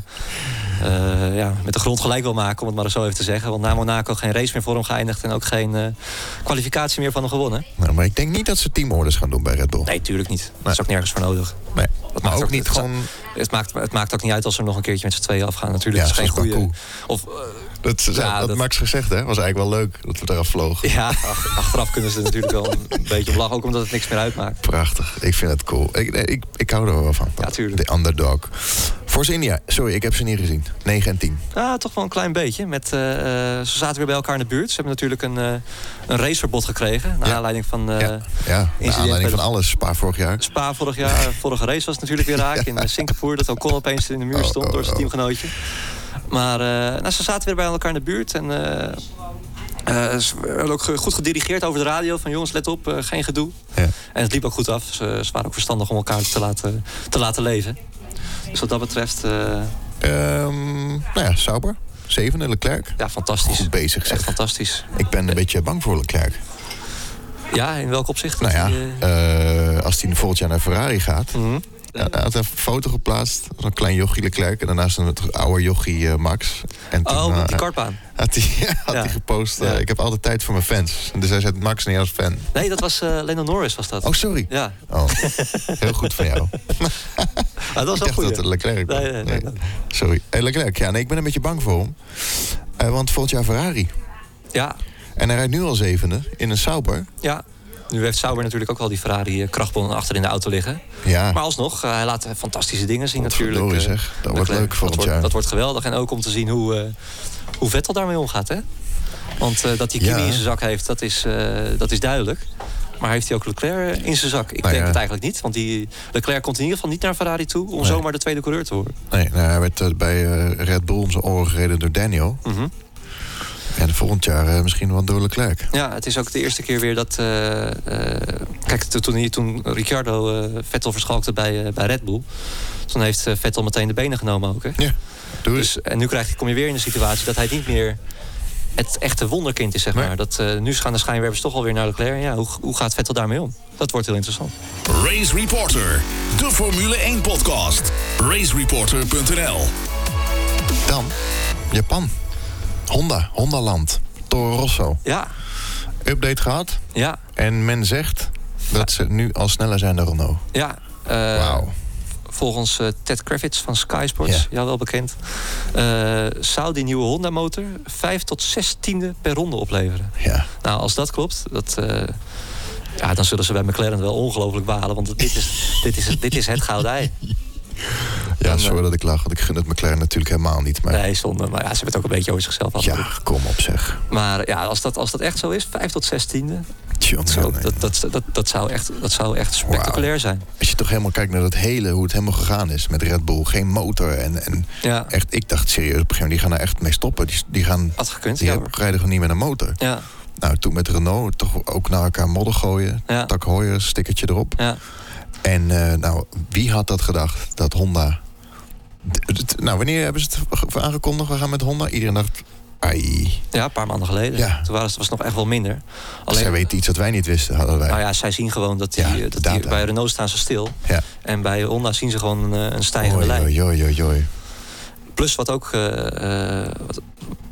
eh, ja, met de grond gelijk wil maken. Om het maar zo even te zeggen. Want na Monaco geen race meer voor hem geëindigd. En ook geen eh, kwalificatie meer van hem gewonnen.
nou, maar ik denk niet dat ze teamorders gaan doen bij Red Bull.
Nee, tuurlijk niet. Dat is ook nergens voor nodig.
Nee.
Dat
Maar
maakt
ook
ook-
niet
dat-
gewoon...
Het maakt, het maakt ook niet uit als ze nog een keertje met z'n tweeën afgaan. Natuurlijk,
Ja,
dat is geen
zoals
goede.
Baku.
Of eh,
Dat, ze-
Ja,
had
dat-
Max gezegd, hè? Was eigenlijk wel leuk dat we eraf vlogen.
eh, Ja, ach- achteraf kunnen ze er natuurlijk wel een [laughs] beetje om lachen, ook omdat het niks meer uitmaakt.
Prachtig. Ik vind het cool. Ik, nee, ik, ik hou er wel van.
Ja, tuurlijk.
De underdog. Force India. Sorry, ik heb ze niet gezien. 9 en 10.
Ah, toch wel een klein beetje. Met, eh, eh, ze zaten weer bij elkaar in de buurt. Ze hebben natuurlijk een, eh, een raceverbod gekregen. Naar
Ja.
aanleiding van eh,
ja. Ja, naar
incident
aanleiding
bij
van
de-
alles. Spa vorig jaar.
Spa vorig jaar.
[laughs]
Vorige race was het natuurlijk weer raak in eh, Singapore. Dat Ocon opeens in de muur
Oh,
stond
oh,
door zijn
oh.
teamgenootje. Maar eh, nou, ze zaten weer bij elkaar in de buurt. En eh, eh, ze werden ook ge- goed gedirigeerd over de radio. Van jongens, let op, eh, geen gedoe.
Ja.
En het liep ook goed af. Ze, ze waren ook verstandig om elkaar te laten, te laten leven. Dus wat dat betreft, eh,
Ehm, nou ja, Sauber. 7 Leclerc.
ja, fantastisch.
Goed bezig,
Echt
zeg.
fantastisch.
Ik ben een beetje bang voor Leclerc.
Ja, in welk opzicht?
Nou ja,
Die, eh,
eh, als hij volgend jaar naar Ferrari gaat...
mhm.
Ja, hij had een foto geplaatst van een klein jochie Leclerc... en daarnaast een oude jochie eh, Max. En toen,
Oh,
eh,
met die kartbaan.
had hij, [laughs] had
Ja.
hij gepost... eh,
Ja.
ik heb altijd tijd voor mijn fans. Dus hij zet Max neer als fan.
Nee, dat was eh Lennon Norris was dat.
Oh, sorry.
Ja,
Oh, heel goed van
[laughs]
jou.
Ah, dat was
ik
wel
dacht
goed.
dat het Leclerc was.
Nee, nee, nee, nee.
Sorry. Eh, Leclerc, ja, nee, ik ben een beetje bang voor hem. Eh, want volgend jaar Ferrari.
Ja,
En hij rijdt nu al zevende in een Sauber.
ja. Nu heeft Sauber natuurlijk ook al die Ferrari eh, krachtbon achter in de auto liggen.
Ja,
Maar alsnog, eh, hij laat eh, fantastische dingen zien
Godverdorie,
natuurlijk. eh,
zeg. Dat wordt
Leclerc.
leuk volgend
dat wordt,
jaar.
Dat wordt geweldig. En ook om te zien hoe, eh hoe Vettel daarmee omgaat. Hè? Want eh, dat hij Kimi
Ja.
in zijn zak heeft, dat is, eh, dat is duidelijk. Maar heeft hij ook Leclerc eh, in zijn zak? Ik
Nou
denk
ja.
het eigenlijk niet. Want die Leclerc komt in ieder geval niet naar Ferrari toe... om zomaar de tweede coureur te worden.
nee, nou, hij werd eh, bij eh, Red Bull om zijn oren gereden door Daniel.
Mhm.
En volgend jaar eh, misschien wel door Leclerc.
Ja, het is ook de eerste keer weer dat... eh, eh, kijk, to- toen, hij- toen Ricciardo eh, Vettel verschalkte bij, eh, bij Red Bull... toen heeft eh, Vettel meteen de benen genomen ook. Hè?
Ja, doe eens.
Dus, en nu krijg je, kom je weer in de situatie dat hij niet meer het echte wonderkind is, zeg
Nee.
maar. Dat, eh, nu gaan de schijnwerpers toch alweer naar Leclerc. En Ja, hoe, hoe gaat Vettel daarmee om? Dat wordt heel interessant.
Race Reporter, de Formule 1 podcast. Racereporter.nl.
Dan Japan. Honda, Honda Land. Toro Rosso.
Ja,
Update gehad.
ja,
En men zegt dat ze nu al sneller zijn dan Renault.
ja. Eh, Volgens eh, Ted Kravitz van Sky Sports,
Ja.
ja, wel bekend... eh, zou die nieuwe Honda-motor 5 tot 6 tiende per ronde opleveren.
Ja.
Nou, als dat klopt, dat, eh, ja, dan zullen ze bij McLaren wel ongelooflijk balen. Want dit is, dit is, dit is het gouden ei.
Ja,
Dan,
sorry dat ik lach, want ik gun het McLaren natuurlijk helemaal niet. Maar
eh, Nee, zonde. Maar ja, ze hebben het ook een beetje over zichzelf af.
ja, kom op zeg.
Maar ja, als dat, als dat echt zo is, 5 tot 16e,
Tjonge,
zo,
nee.
dat, dat, dat, dat, zou echt, dat zou echt spectaculair zijn.
Als je toch helemaal kijkt naar dat hele, hoe het helemaal gegaan is met Red Bull. Geen motor en, en
Ja,
echt, ik dacht serieus, op een gegeven moment, die gaan er echt mee stoppen. Die, die gaan,
had gekund.
die
Ja,
hebben- rijden gewoon niet met een motor.
ja,
Nou, toen met Renault toch ook naar elkaar modder gooien.
Ja.
Tak Heuer, stickertje erop.
ja.
En eh, nou, wie had dat gedacht, dat Honda... D- d- Nou, wanneer hebben ze het ge- aangekondigd? We gaan met Honda. Iedereen dacht, ai,
ja, een paar maanden geleden.
Ja.
Toen waren, ze- was het nog echt wel minder.
zij weten iets wat wij niet wisten, hadden wij.
nou ja, zij zien gewoon dat, die,
Ja,
eh, dat
data.
die, bij Renault staan ze stil.
Ja.
En bij Honda zien ze gewoon een, eh, een stijgende
Oei,
lijn.
oei, oei, oei, oei.
Plus wat ook eh, eh, wat,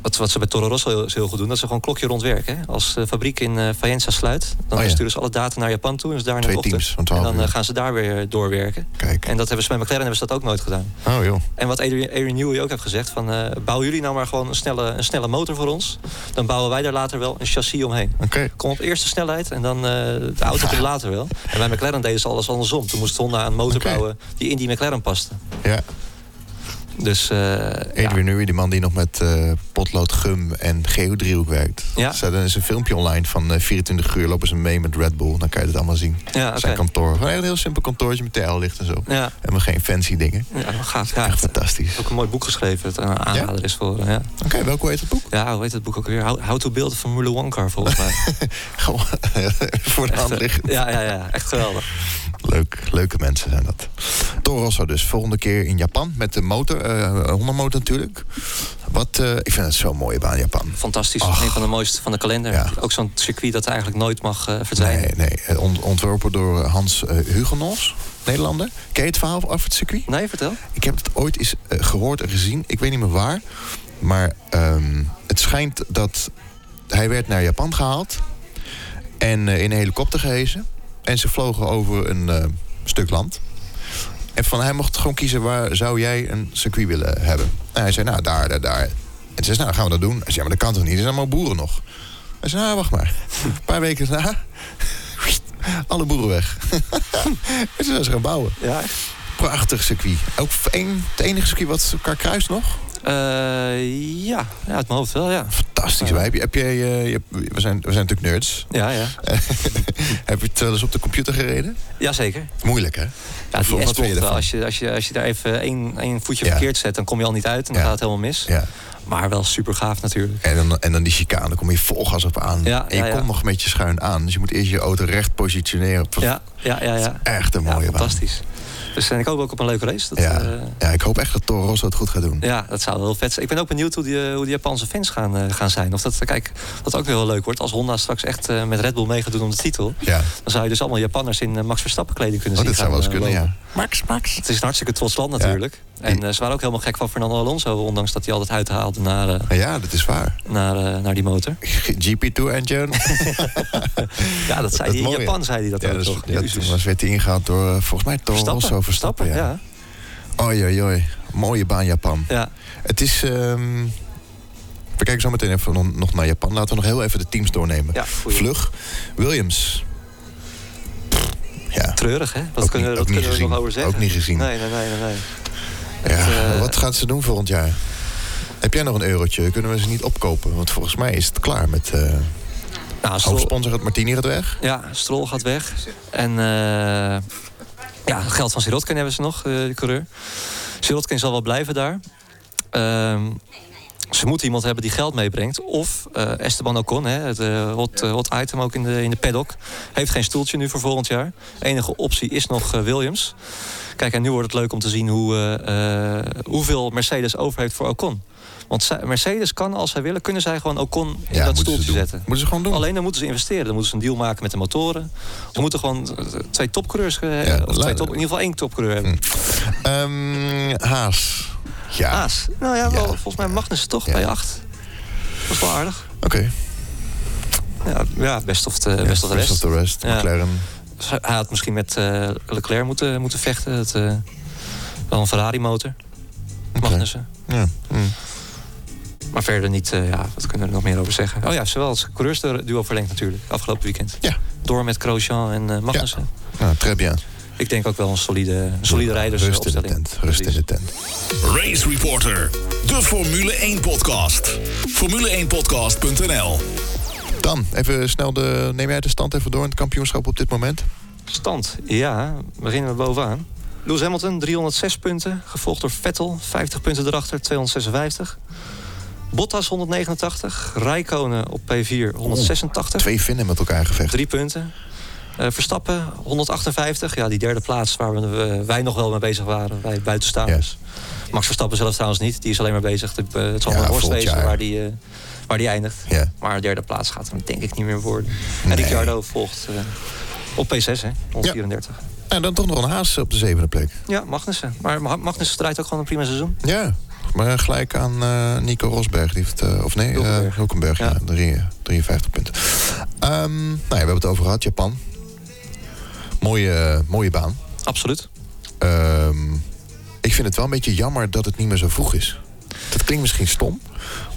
wat, wat ze bij Toro Rosso heel, heel goed doen, dat ze gewoon klokje rondwerken. Hè. Als de fabriek in eh Faenza sluit, dan
Oh ja.
sturen ze alle data naar Japan toe en ze daar naar
Twee
ochtend.
teams van
En
12
dan eh,
uur.
gaan ze daar weer doorwerken.
Kijk.
En dat hebben ze bij McLaren hebben ze dat ook nooit gedaan.
Oh joh.
En wat Adrian, Adrian Newey ook heeft gezegd: van, eh, bouwen jullie nou maar gewoon een snelle, een snelle motor voor ons. Dan bouwen wij daar later wel een chassis omheen.
Oké.
Kom op eerste snelheid en dan eh, de
[laughs]
auto komt later wel. En bij McLaren deden ze alles andersom. Toen moest Honda een motor
Oké.
bouwen die in die McLaren paste.
Ja.
Dus eh, ja.
Adrian Newey, die man die nog met eh, potlood, gum en geodriehoek werkt.
Ja.
Er staat- er is een filmpje online van eh, 24 uur lopen ze mee met Red Bull. Dan kan je het allemaal zien.
Ja, Ah, oké.
Zijn kantoor. Gewoon een heel simpel kantoortje met TL-licht en zo.
Ja,
En maar geen fancy dingen.
ja dat gaat. Ja,
Echt
het-
fantastisch.
ook een mooi boek geschreven, dat een aanrader is voor. eh, Ja.
Oké, welke heet het boek?
ja, hoe heet dat boek ook weer? How, how to build a Formula One car, volgens
[laughs]
mij.
Gewoon voor de
Echt,
hand
eh,
liggen.
ja, ja, ja, echt geweldig.
Leuk, leuke mensen zijn dat. Toro Rosso dus, volgende keer in Japan met de motor, eh Honda motor natuurlijk. Wat, eh, ik vind het zo'n mooie baan, Japan.
Fantastisch.
Ach.
Een van de mooiste van de kalender.
Ja.
Ook zo'n circuit dat eigenlijk nooit mag eh, verdwijnen.
Nee, nee, eh, ont- ontworpen door eh, Hans eh, Hugenolfs, Nederlander. Ken je het verhaal over het circuit?
Nee, vertel.
Ik heb het ooit eens eh, gehoord en gezien. Ik weet niet meer waar. Maar ehm, het schijnt dat hij werd naar Japan gehaald. En eh, in een helikopter gehezen. En ze vlogen over een eh, stuk land. En van hij mocht gewoon kiezen waar zou jij een circuit willen hebben. En hij zei, nou, daar, daar, daar. En ze zei, nou, gaan we dat doen? Hij zei, ja, maar dat kan toch niet? Er zijn allemaal boeren nog. Hij zei, nou, wacht maar. Een paar weken daarna, [laughs] alle boeren weg. [laughs] en ze zijn ze gaan bouwen.
Ja,
Prachtig circuit. Ook één, het enige circuit wat elkaar kruist nog.
Eh, ja. ja, uit mijn hoofd wel, ja.
Fantastisch.
Ja.
Wij Heb je, heb je, eh, je hebt- we, zijn, we zijn natuurlijk nerds.
Ja, ja.
heb je het wel eens op de computer gereden?
Jazeker.
Moeilijk, hè?
Ja, die
Wat vind je
S-bocht,
ervan?
als je, als, je, als je daar even één, één voetje
Ja.
verkeerd zet, dan kom je al niet uit en dan
Ja.
gaat het helemaal mis.
Ja.
Maar wel super gaaf natuurlijk.
En dan, en dan die chicane, dan kom je vol gas op aan.
Ja,
en je
ja, ja.
komt nog met je schuin aan. Dus je moet eerst je auto recht positioneren.
Ja, ja, ja. ja.
Echt een
ja
mooie baan.
fantastisch. Dus en ik hoop ook op een leuke race. Dat,
Ja.
eh,
Ja, ik hoop echt dat Toro Rosso het goed gaat doen.
ja, dat zou wel vet zijn. Ik ben ook benieuwd hoe die, eh, hoe die Japanse fans gaan, eh, gaan zijn. Of dat, kijk, wat ook weer wel leuk wordt, als Honda straks echt eh, met Red Bull mee gaat doen om de titel,
Ja.
dan zou je dus allemaal Japanners in eh, Max Verstappen kleding kunnen
Oh,
zien.
dat zou wel eens
gaan, eh,
kunnen,
lopen.
ja. Max, Max.
Het is een hartstikke trots land natuurlijk. En eh, ze waren ook helemaal gek van Fernando Alonso, ondanks dat hij altijd uithaalde naar, eh,
Ja, dat is waar.
naar, eh, naar die motor.
GP2
[laughs]
engine.
Ja, dat zei
Dat
hij in
mooie.
Japan, zei hij dat
Ja,
ook
dat is,
toch?
ja, toen was werd hij ingehaald door eh, volgens mij Toro Rosso Verstappen. ja.
ja.
Oi, oi, oi. Mooie baan Japan.
ja.
Het is... ehm, We kijken zo meteen even no- nog naar Japan. Laten we nog heel even de teams doornemen.
Ja, goeie.
Vlug. Williams. Pff, Ja,
Treurig, hè? Dat
Ook
kunnen,
niet-
dat
ook niet
kunnen we nog
gezien.
over zeggen.
Ook niet gezien.
Nee, nee, nee, nee. nee.
ja.
eh,
wat gaan ze doen volgend jaar? Heb jij nog een eurotje? Kunnen we ze niet opkopen? Want volgens mij is het klaar met... eh
Nou, Stroll,
hoofdsponsor gaat Martini gaat weg.
ja, Stroll gaat weg. En eh, ja, het geld van Sirotkin hebben ze nog, eh de coureur. Sirotkin zal wel blijven daar. Ehm, ze moeten iemand hebben die geld meebrengt. Of eh, Esteban Ocon, hè, het eh, hot, eh, hot item ook in de, in de paddock. Heeft geen stoeltje nu voor volgend jaar. Enige optie is nog eh, Williams. Kijk, en nu wordt het leuk om te zien hoe, eh, eh, hoeveel Mercedes over heeft voor Ocon. Want zij- Mercedes kan, als zij willen, kunnen zij gewoon Ocon in dat
moeten ze
stoeltje
doen.
zetten.
Moeten ze gewoon doen.
Alleen dan moeten ze investeren. Dan moeten ze een deal maken met de motoren. Ze moeten gewoon eh, twee topcoureurs... eh,
Ja, dat
of twee
lijkt-
top, in ieder geval één topcoureur hebben.
Ehm, Haas. Ja,
Haas. Nou ja, wel,
Ja.
volgens mij Magnussen toch
Ja.
bij acht. Dat is wel aardig.
oké.
Ja, ja best of de, best of de
Best
rest.
of the rest.
Ja.
McLaren.
Hij had misschien met eh, Leclerc moeten, moeten vechten. Het, eh, wel een Ferrari-motor. Magnussen.
Ja. hm.
Maar verder niet, eh, ja, wat kunnen we er nog meer over zeggen? Oh ja, zowel als coureursduo verlengd natuurlijk, afgelopen weekend.
Ja.
Door met Grosjean en eh, Magnussen.
Nou, très bien.
Ik denk ook wel een solide, een solide eh,
Rust in de
rijdersopstelling.
tent. Rust in de tent.
Race Reporter, de Formule 1 podcast. Formule1podcast.nl.
Dan, even snel de. Neem jij de stand even door in het kampioenschap op dit moment?
Stand, ja. Beginnen we bovenaan. Lewis Hamilton, 306 punten. Gevolgd door Vettel, 50 punten erachter, 256. Bottas, 189. Rijkonen op P4, 186.
Twee vinden met elkaar gevecht.
Drie punten. Eh, Verstappen, 158. Ja, die derde plaats waar we, eh, wij nog wel mee bezig waren. Wij buitenstaanders. Max Verstappen zelf trouwens niet. Die is alleen maar bezig. De, eh, het zal
Ja,
wel een worst
volgend
wezen
jaar.
waar die, eh, waar die eindigt.
Ja.
Maar derde plaats gaat hem denk ik niet meer worden.
Nee.
En Ricciardo volgt eh, op P6, hè? 134. Ja.
Nou, En dan toch nog een haas op de zevende plek.
Magnussen. Maar Ma- Magnussen draait ook gewoon een prima seizoen.
Ja. nog maar gelijk aan eh, Nico Rosberg. Die heeft, eh, of nee,
Hulkenberg.
eh, Hulkenberg, ja.
Ja.
drie- 53 punten. Ehm, nou ja, we hebben het over gehad, Japan. Mooie, eh, mooie baan.
Absoluut.
Ehm, ik vind het wel een beetje jammer dat het niet meer zo vroeg is. Dat klinkt misschien stom,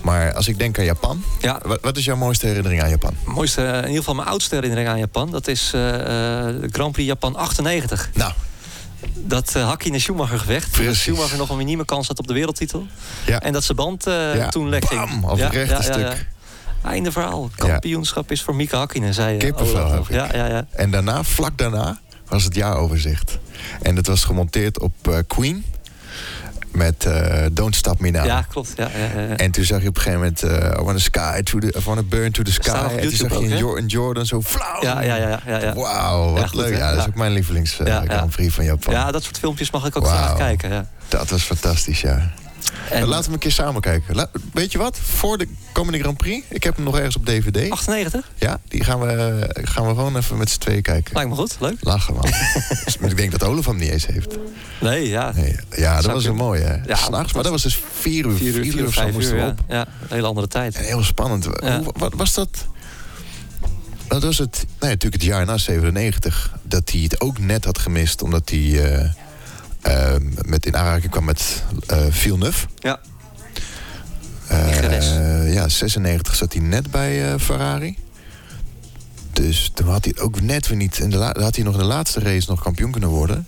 maar als ik denk aan Japan...
Ja,
Wat, wat is jouw mooiste herinnering aan Japan?
mooiste, eh, in ieder geval mijn oudste herinnering aan Japan. Dat is eh, eh, de Grand Prix Japan 98.
Nou,
Dat eh Hakkinen Schumacher gevecht. Toen
Precies.
Schumacher nog een minieme kans had op de wereldtitel.
Ja.
En dat zijn band eh,
Ja,
toen lek ging.
bam, op het rechte stuk.
Einde verhaal. Kampioenschap is voor Mika Hakkinen, zei je.
Kippenvel
Olaf nog.
heb ik.
Ja, ja, ja.
En daarna, vlak daarna, was het jaaroverzicht. En dat was gemonteerd op eh, Queen met eh, Don't Stop Me Now.
ja, klopt. Ja, ja, ja, ja.
En toen zag je op een gegeven moment eh I wanna sky to the, I wanna burn to the sky.
Staat op
En toen zag
YouTube
je een
ook, hè?
Jo- een Jordan zo flauw.
Ja, ja, ja, ja, ja.
Wauw, wat
Ja, goed,
leuk.
hè?
Ja, dat is
Ja.
ook mijn lievelings eh,
Ja, ja.
Grand Prix van Japan.
Ja, dat soort filmpjes mag ik ook
Wauw.
graag kijken. Ja.
Dat was fantastisch, ja.
En
Laten we een keer samen kijken. La- weet je wat? Voor de komende Grand Prix, ik heb hem nog ergens op DVD.
98?
Ja, die gaan we, gaan we gewoon even met z'n tweeën kijken.
Lijkt me goed. Leuk. [laughs]
Lachen, man. Dus, Maar ik denk dat Olaf hem niet eens heeft.
Nee, ja.
Nee, ja, dat
Zou
was een
kunnen.
mooie, hè?
Ja,
S'nachts, maar dat was dus vier uur,
Vier uur, vier uur,
of zo
vijf
moesten
uur.
we
Ja.
op. Eh,
ja, een hele andere tijd.
En heel spannend.
Ja.
Hoe, wat was dat? Dat was het, nou ja, natuurlijk het jaar na 97. Dat hij het ook net had gemist, omdat hij eh, eh, met, in aanraking kwam met eh Villeneuve.
Ja.
Eh,
Icarus.
ja, 96 zat hij net bij eh, Ferrari. Dus toen had hij ook net weer niet... In de la- had hij nog in de laatste race nog kampioen kunnen worden.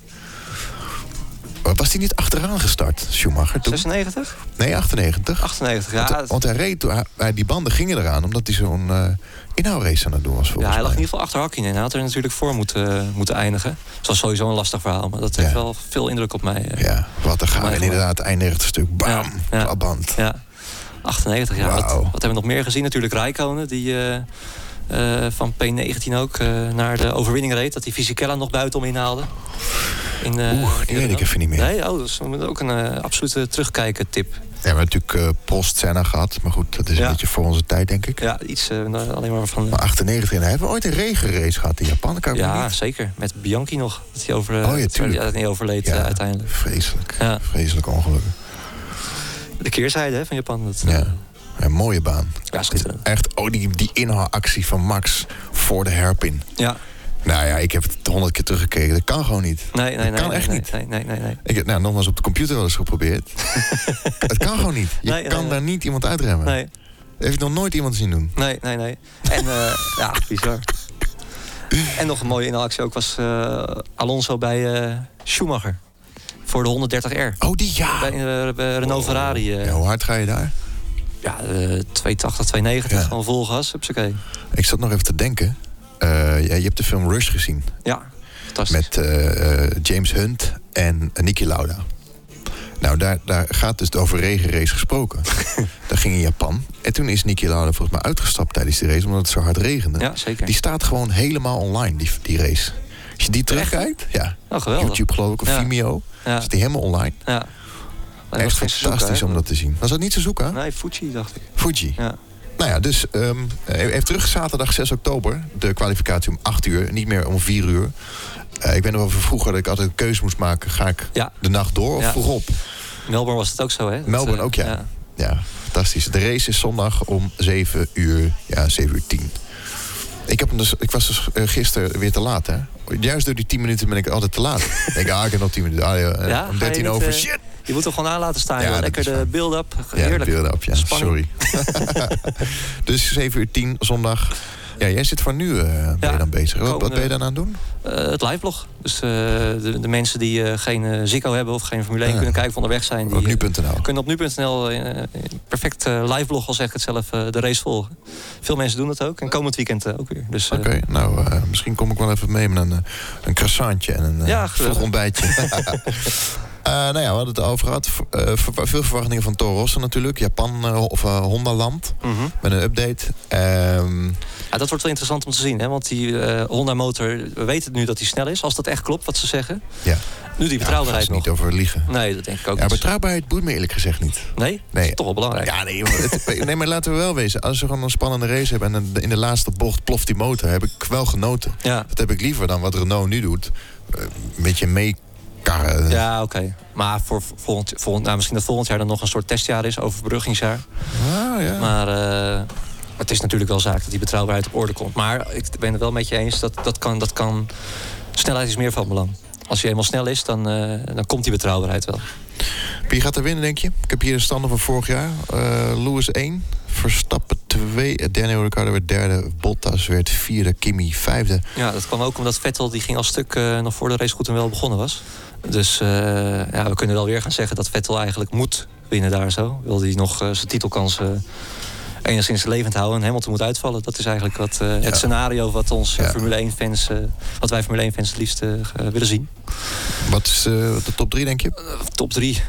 Maar was hij niet achteraan gestart, Schumacher? Toen?
96?
Nee, 98.
98, ja.
Want, want hij reed, toen- hij- hij, die banden gingen eraan omdat hij zo'n eh inhoudrace aan het doen was volgens
Ja, hij lag in
mij.
ieder geval achter Hakkinen. Hij had er natuurlijk voor moeten, eh, moeten eindigen. Dat was sowieso een lastig verhaal, maar dat heeft
Ja.
wel veel indruk op mij. eh.
Ja, wat een gaaf.
Maar
En inderdaad, eindigt het stuk. Bam,
Ja, ja.
klapband.
Ja, 98 jaar. Wat,
Wauw.
wat hebben we nog meer gezien? Natuurlijk Rijkonen, die eh, eh, van P19 ook eh, naar de overwinning reed. Dat die Fisichella nog buitenom inhaalde. In, eh,
Oeh, die weet ik even niet meer.
Nee, oh, dat is ook een eh, absolute terugkijken tip.
Ja, we hebben natuurlijk eh, post Senna gehad. Maar goed, dat is een
Ja.
beetje voor onze tijd, denk ik.
Ja, iets eh, nou, alleen maar van...
Maar 98 en hij heeft ooit een regenrace gehad in Japan. Dat kan ik me
ja,
Ah, niet.
zeker. Met Bianchi nog. Dat hij over, eh,
Oh ja,
dat hij
tuurlijk.
dat hij overleed
Ja.
eh, uiteindelijk.
Vreselijk.
Ja.
Vreselijk ongelukken.
De keerzijde hè, van Japan. Dat, eh,
Ja. Een mooie baan.
ja, schitterend.
Echt, oh, die, die inhaalactie van Max voor de herpin.
Ja,
Nou ja, ik heb het honderd keer teruggekeken. Dat kan gewoon niet.
nee, nee, nee.
Dat kan
nee,
echt
nee,
niet.
Nee, nee, nee, nee.
Ik heb nou, nogmaals op de computer wel eens
[laughs]
geprobeerd. het kan gewoon niet. Je
Nee, nee,
kan
nee.
daar niet iemand uitremmen.
Nee,
Heeft ik nog nooit iemand zien doen.
nee, nee, nee. En eh, [laughs] ja, bizar. En nog een mooie inhaalactie ook was eh, Alonso bij eh, Schumacher. Voor de 130R.
Oh, die ja.
Bij eh, bij Renault Ferrari. eh,
Oh. Ja, hoe hard ga je daar?
ja, eh 280, 290.
Ja.
Gewoon vol gas. Hupsakee.
Ik zat nog even te denken. Eh, ja, je hebt de film Rush gezien.
Ja, fantastisch.
Met eh, eh, James Hunt en Niki Lauda. Nou, daar, daar gaat dus over regenrace
[laughs]
gesproken. dat ging in Japan. En toen is Niki Lauda volgens mij uitgestapt tijdens die race... omdat het zo hard regende.
Ja, zeker.
eh, Die staat gewoon helemaal online, die, die race. Als je die
Echt?
terugkijkt... Ja,
Oh, geweldig.
YouTube geloof ik, of
Ja.
Vimeo.
Ja,
Zit die helemaal online.
ja. Maar dat
Echt
was geen Suzuka,
fantastisch
hè?
om dat te zien. Was dat niet Suzuka?
Nee, Fuji dacht ik.
Fuji.
Ja.
Nou ja, dus ehm, eh, even terug zaterdag 6 oktober. De kwalificatie om 8 uur, niet meer om 4 uur. Eh, ik ben nog wel van vroeger dat ik altijd een keuze moest maken. Ga ik
Ja.
de nacht door of
Ja.
vroeg op?
Melbourne was het ook zo, hè? Dat,
Melbourne
eh,
ook, ja. Ja, fantastisch. De race is zondag om 7 uur, ja, 7 uur 10. Ik, heb hem dus, ik was dus eh, gisteren weer te laat, hè. Juist door die 10 minuten ben ik altijd te
[laughs]
laat. ik denk, ah, ik heb nog 10 minuten. Ah, ja, eh,
Ja,
om
ga je
13
niet,
over,
eh,
shit!
Je moet er gewoon aan laten staan.
Ja,
joh.
dat
Lekker
is
de
fijn.
build-up.
Ja, de
Heerlijk.
beelden op, ja.
Spanning.
Sorry.
[laughs]
dus 7 uur 10 zondag. Ja, jij zit voor nu eh ben je
Ja,
dan bezig. Wat, wat
komende-
ben je dan aan het doen?
Eh, het liveblog. Dus eh, de, de mensen die eh, geen eh, Ziggo hebben of geen Formule 1
Ja.
kunnen kijken van onderweg zijn... Die,
Op
eh,
nu.nl.
kunnen op nu.nl eh, perfect live liveblog, al zeg ik het zelf, eh, de race volgen. Veel mensen doen dat ook. En komend weekend eh, ook weer. Dus eh,
Oké, nou, eh, misschien kom ik wel even mee met een, eh, een croissantje en een eh,
Ja, gezellig.
vroeg
[laughs]
ontbijtje. Eh, nou ja, we hadden het over gehad. V- eh, ver- veel verwachtingen van Toro Rosso natuurlijk. Japan eh, of eh, Honda Land
mhm.
met een update. Ehm,
ja, dat wordt wel interessant om te zien. Hè? Want die eh, Honda motor, we weten nu dat die snel is. Als dat echt klopt wat ze zeggen.
ja,
Nu die
ja, daar gaan
betrouwbaarheid
ze
nog.
niet over liegen.
Nee, dat denk ik ook
Ja,
niet.
betrouwbaarheid boeit me eerlijk gezegd niet.
Nee? Dat
Nee.
is toch wel belangrijk.
Ja, nee, maar het- [laughs] nee, maar laten we wel wezen. Als we gewoon een spannende race hebben en dan in de laatste bocht ploft die motor, heb ik wel genoten.
Ja.
Dat heb ik liever dan wat Renault nu doet. Eh, Een beetje mee karren.
Ja, oké. Maar voor volgend, volgend, nou, misschien dat volgend jaar dan nog een soort testjaar is, overbruggingsjaar.
Ah, ja.
Maar eh, het is natuurlijk wel zaak dat die betrouwbaarheid op orde komt. Maar ik ben het wel met je eens, dat, dat, kan, dat kan... Snelheid is meer van belang. Als je eenmaal snel is, dan, eh, dan komt die betrouwbaarheid wel.
Wie gaat er winnen, denk je? Ik heb hier de standen van vorig jaar. Eh, Lewis 1, Verstappen 2, Daniel Ricciardo werd derde, Bottas werd vierde, Kimi vijfde.
Ja, dat kwam ook omdat Vettel die ging al stuk eh, nog voor de race goed en wel begonnen was. Dus eh, ja, we kunnen wel weer gaan zeggen dat Vettel eigenlijk moet winnen daar zo. Wil hij nog eh, zijn titelkans eh, enigszins levend houden en Hamilton moet uitvallen. Dat is eigenlijk wat, eh,
Ja.
het scenario wat ons eh,
Ja.
Formule 1 fans, eh, wat wij Formule 1 fans het liefst eh, eh, willen zien.
Wat is eh, de top 3, denk je?
Top 3,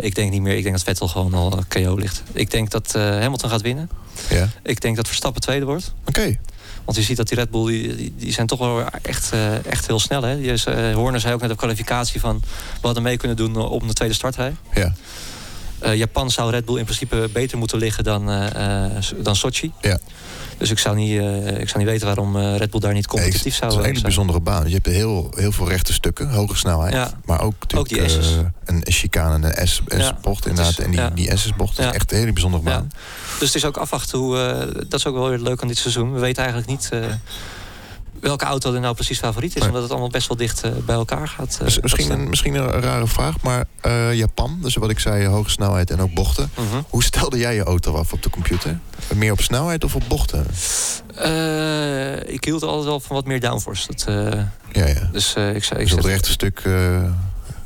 ik denk niet meer. Ik denk dat Vettel gewoon al eh, KO ligt. Ik denk dat eh, Hamilton gaat winnen.
Ja.
Ik denk dat Verstappen tweede wordt.
Oké.
Want je ziet dat die Red Bull, die, die, die zijn toch wel echt, eh, echt heel snel. Hè? Je, eh, Horner zei ook net op kwalificatie van... we hadden mee kunnen doen eh, op de tweede startrij.
Ja.
Eh, Japan zou Red Bull in principe beter moeten liggen dan, eh, eh, dan Sochi.
Ja.
Dus ik zou, niet, eh, ik zou niet weten waarom eh, Red Bull daar niet
Nee,
competitief
Het
zou
is een
zijn.
hele bijzondere baan. Je hebt heel, heel veel rechte stukken, hoge snelheid.
Ja.
Maar ook, natuurlijk,
Ook die S's.
eh, een chicane en een S-
Ja,
S-bocht
dat
inderdaad.
is-
en die,
ja.
die S-bocht is
Ja.
echt een hele bijzondere
Ja.
baan.
Dus het is ook afwachten hoe. eh, dat is ook wel weer leuk aan dit seizoen. We weten eigenlijk niet. eh, Welke auto er nou precies favoriet is,
Nee.
omdat het allemaal best wel dicht eh, bij elkaar gaat. eh,
Dus misschien,
opstaan.
een, misschien een rare vraag, maar eh, Japan, dus wat ik zei, hoge snelheid en ook bochten.
Mhm.
Hoe stelde jij je auto af op de computer? Meer op snelheid of op bochten?
Eh, ik hield altijd wel van wat meer downforce. Dat, eh,
Ja, ja.
dus eh, ik zei. Ik
Dus op het
zet-
rechte stuk eh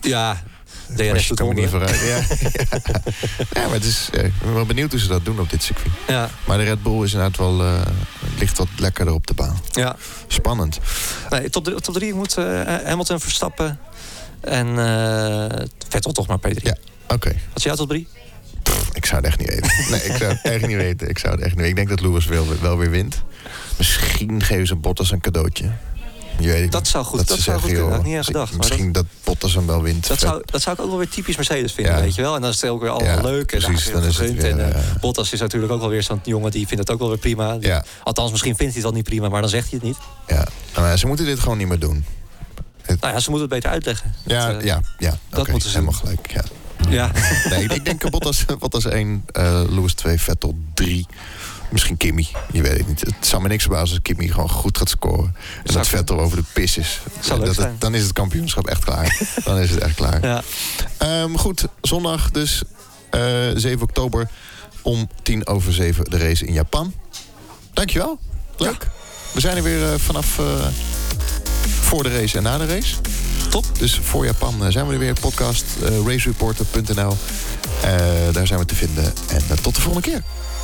ja,
was
DRS
je
doet
kan me niet
wonderen.
vooruit. Ja,
[laughs]
ja. maar het is, eh, ik ben wel benieuwd hoe ze dat doen op dit circuit.
Ja,
Maar de Red Bull is inderdaad wel, eh, ligt wat lekkerder op de baan.
ja.
Spannend.
Nee, top, drie- top drie moet eh, Hamilton verstappen. En eh, Vettel toch maar P3.
Ja. Oké,
Wat is jouw top drie?
ik zou het echt niet weten. Nee, ik zou het echt niet weten. Ik, zou het echt niet weten. ik denk dat Lewis wel, wel weer wint. Misschien geven ze Bottas een cadeautje. Je weet het
Dat
niet.
zou goed,
ze
dat, zou
zeggen,
goed kunnen.
joh,
Had ik niet aan gedacht. maar dat-
Misschien dat... Bottas hem wel wint.
Dat
Vet-
zou, dat zou ik ook wel weer typisch Mercedes vinden,
Ja.
weet je wel. En dan is het ook weer allemaal
Ja,
leuk. En
precies,
ah,
dan is het
gegund.
weer,
En, eh,
eh,
Bottas is natuurlijk ook wel weer zo'n jongen, die vindt het ook wel weer prima. Die-
ja,
Althans, misschien vindt hij het al niet prima, maar dan zegt hij het niet.
ja. Nou, ja, ze moeten dit gewoon niet meer doen.
Nou ja, ze moeten het beter uitleggen.
Ja,
eh,
ja, ja.
dat
Oké,
moeten ze
Helemaal gelijk, ja.
Ja,
[laughs] Nee, ik- ik denk dat Bottas, Bottas 1, eh Lewis 2, Vettel 3. Misschien Kimmy, je weet het niet. Het zou me niks verbazen als Kimmy gewoon goed gaat scoren. En
Zou
dat
ik-
Vettel over de pis is.
Zou leuk
Dat het-
zijn.
dan is het kampioenschap echt klaar. dan is het echt klaar.
ja.
Ehm, goed, zondag dus eh 7 oktober om 10 over 7 de race in Japan. Dankjewel. Leuk. We zijn er weer eh, vanaf eh, voor de race en na de race.
Top.
Dus voor Japan eh, zijn we er weer. Podcast eh, racereporter.nl. Eh, daar zijn we te vinden. En eh, tot de volgende keer.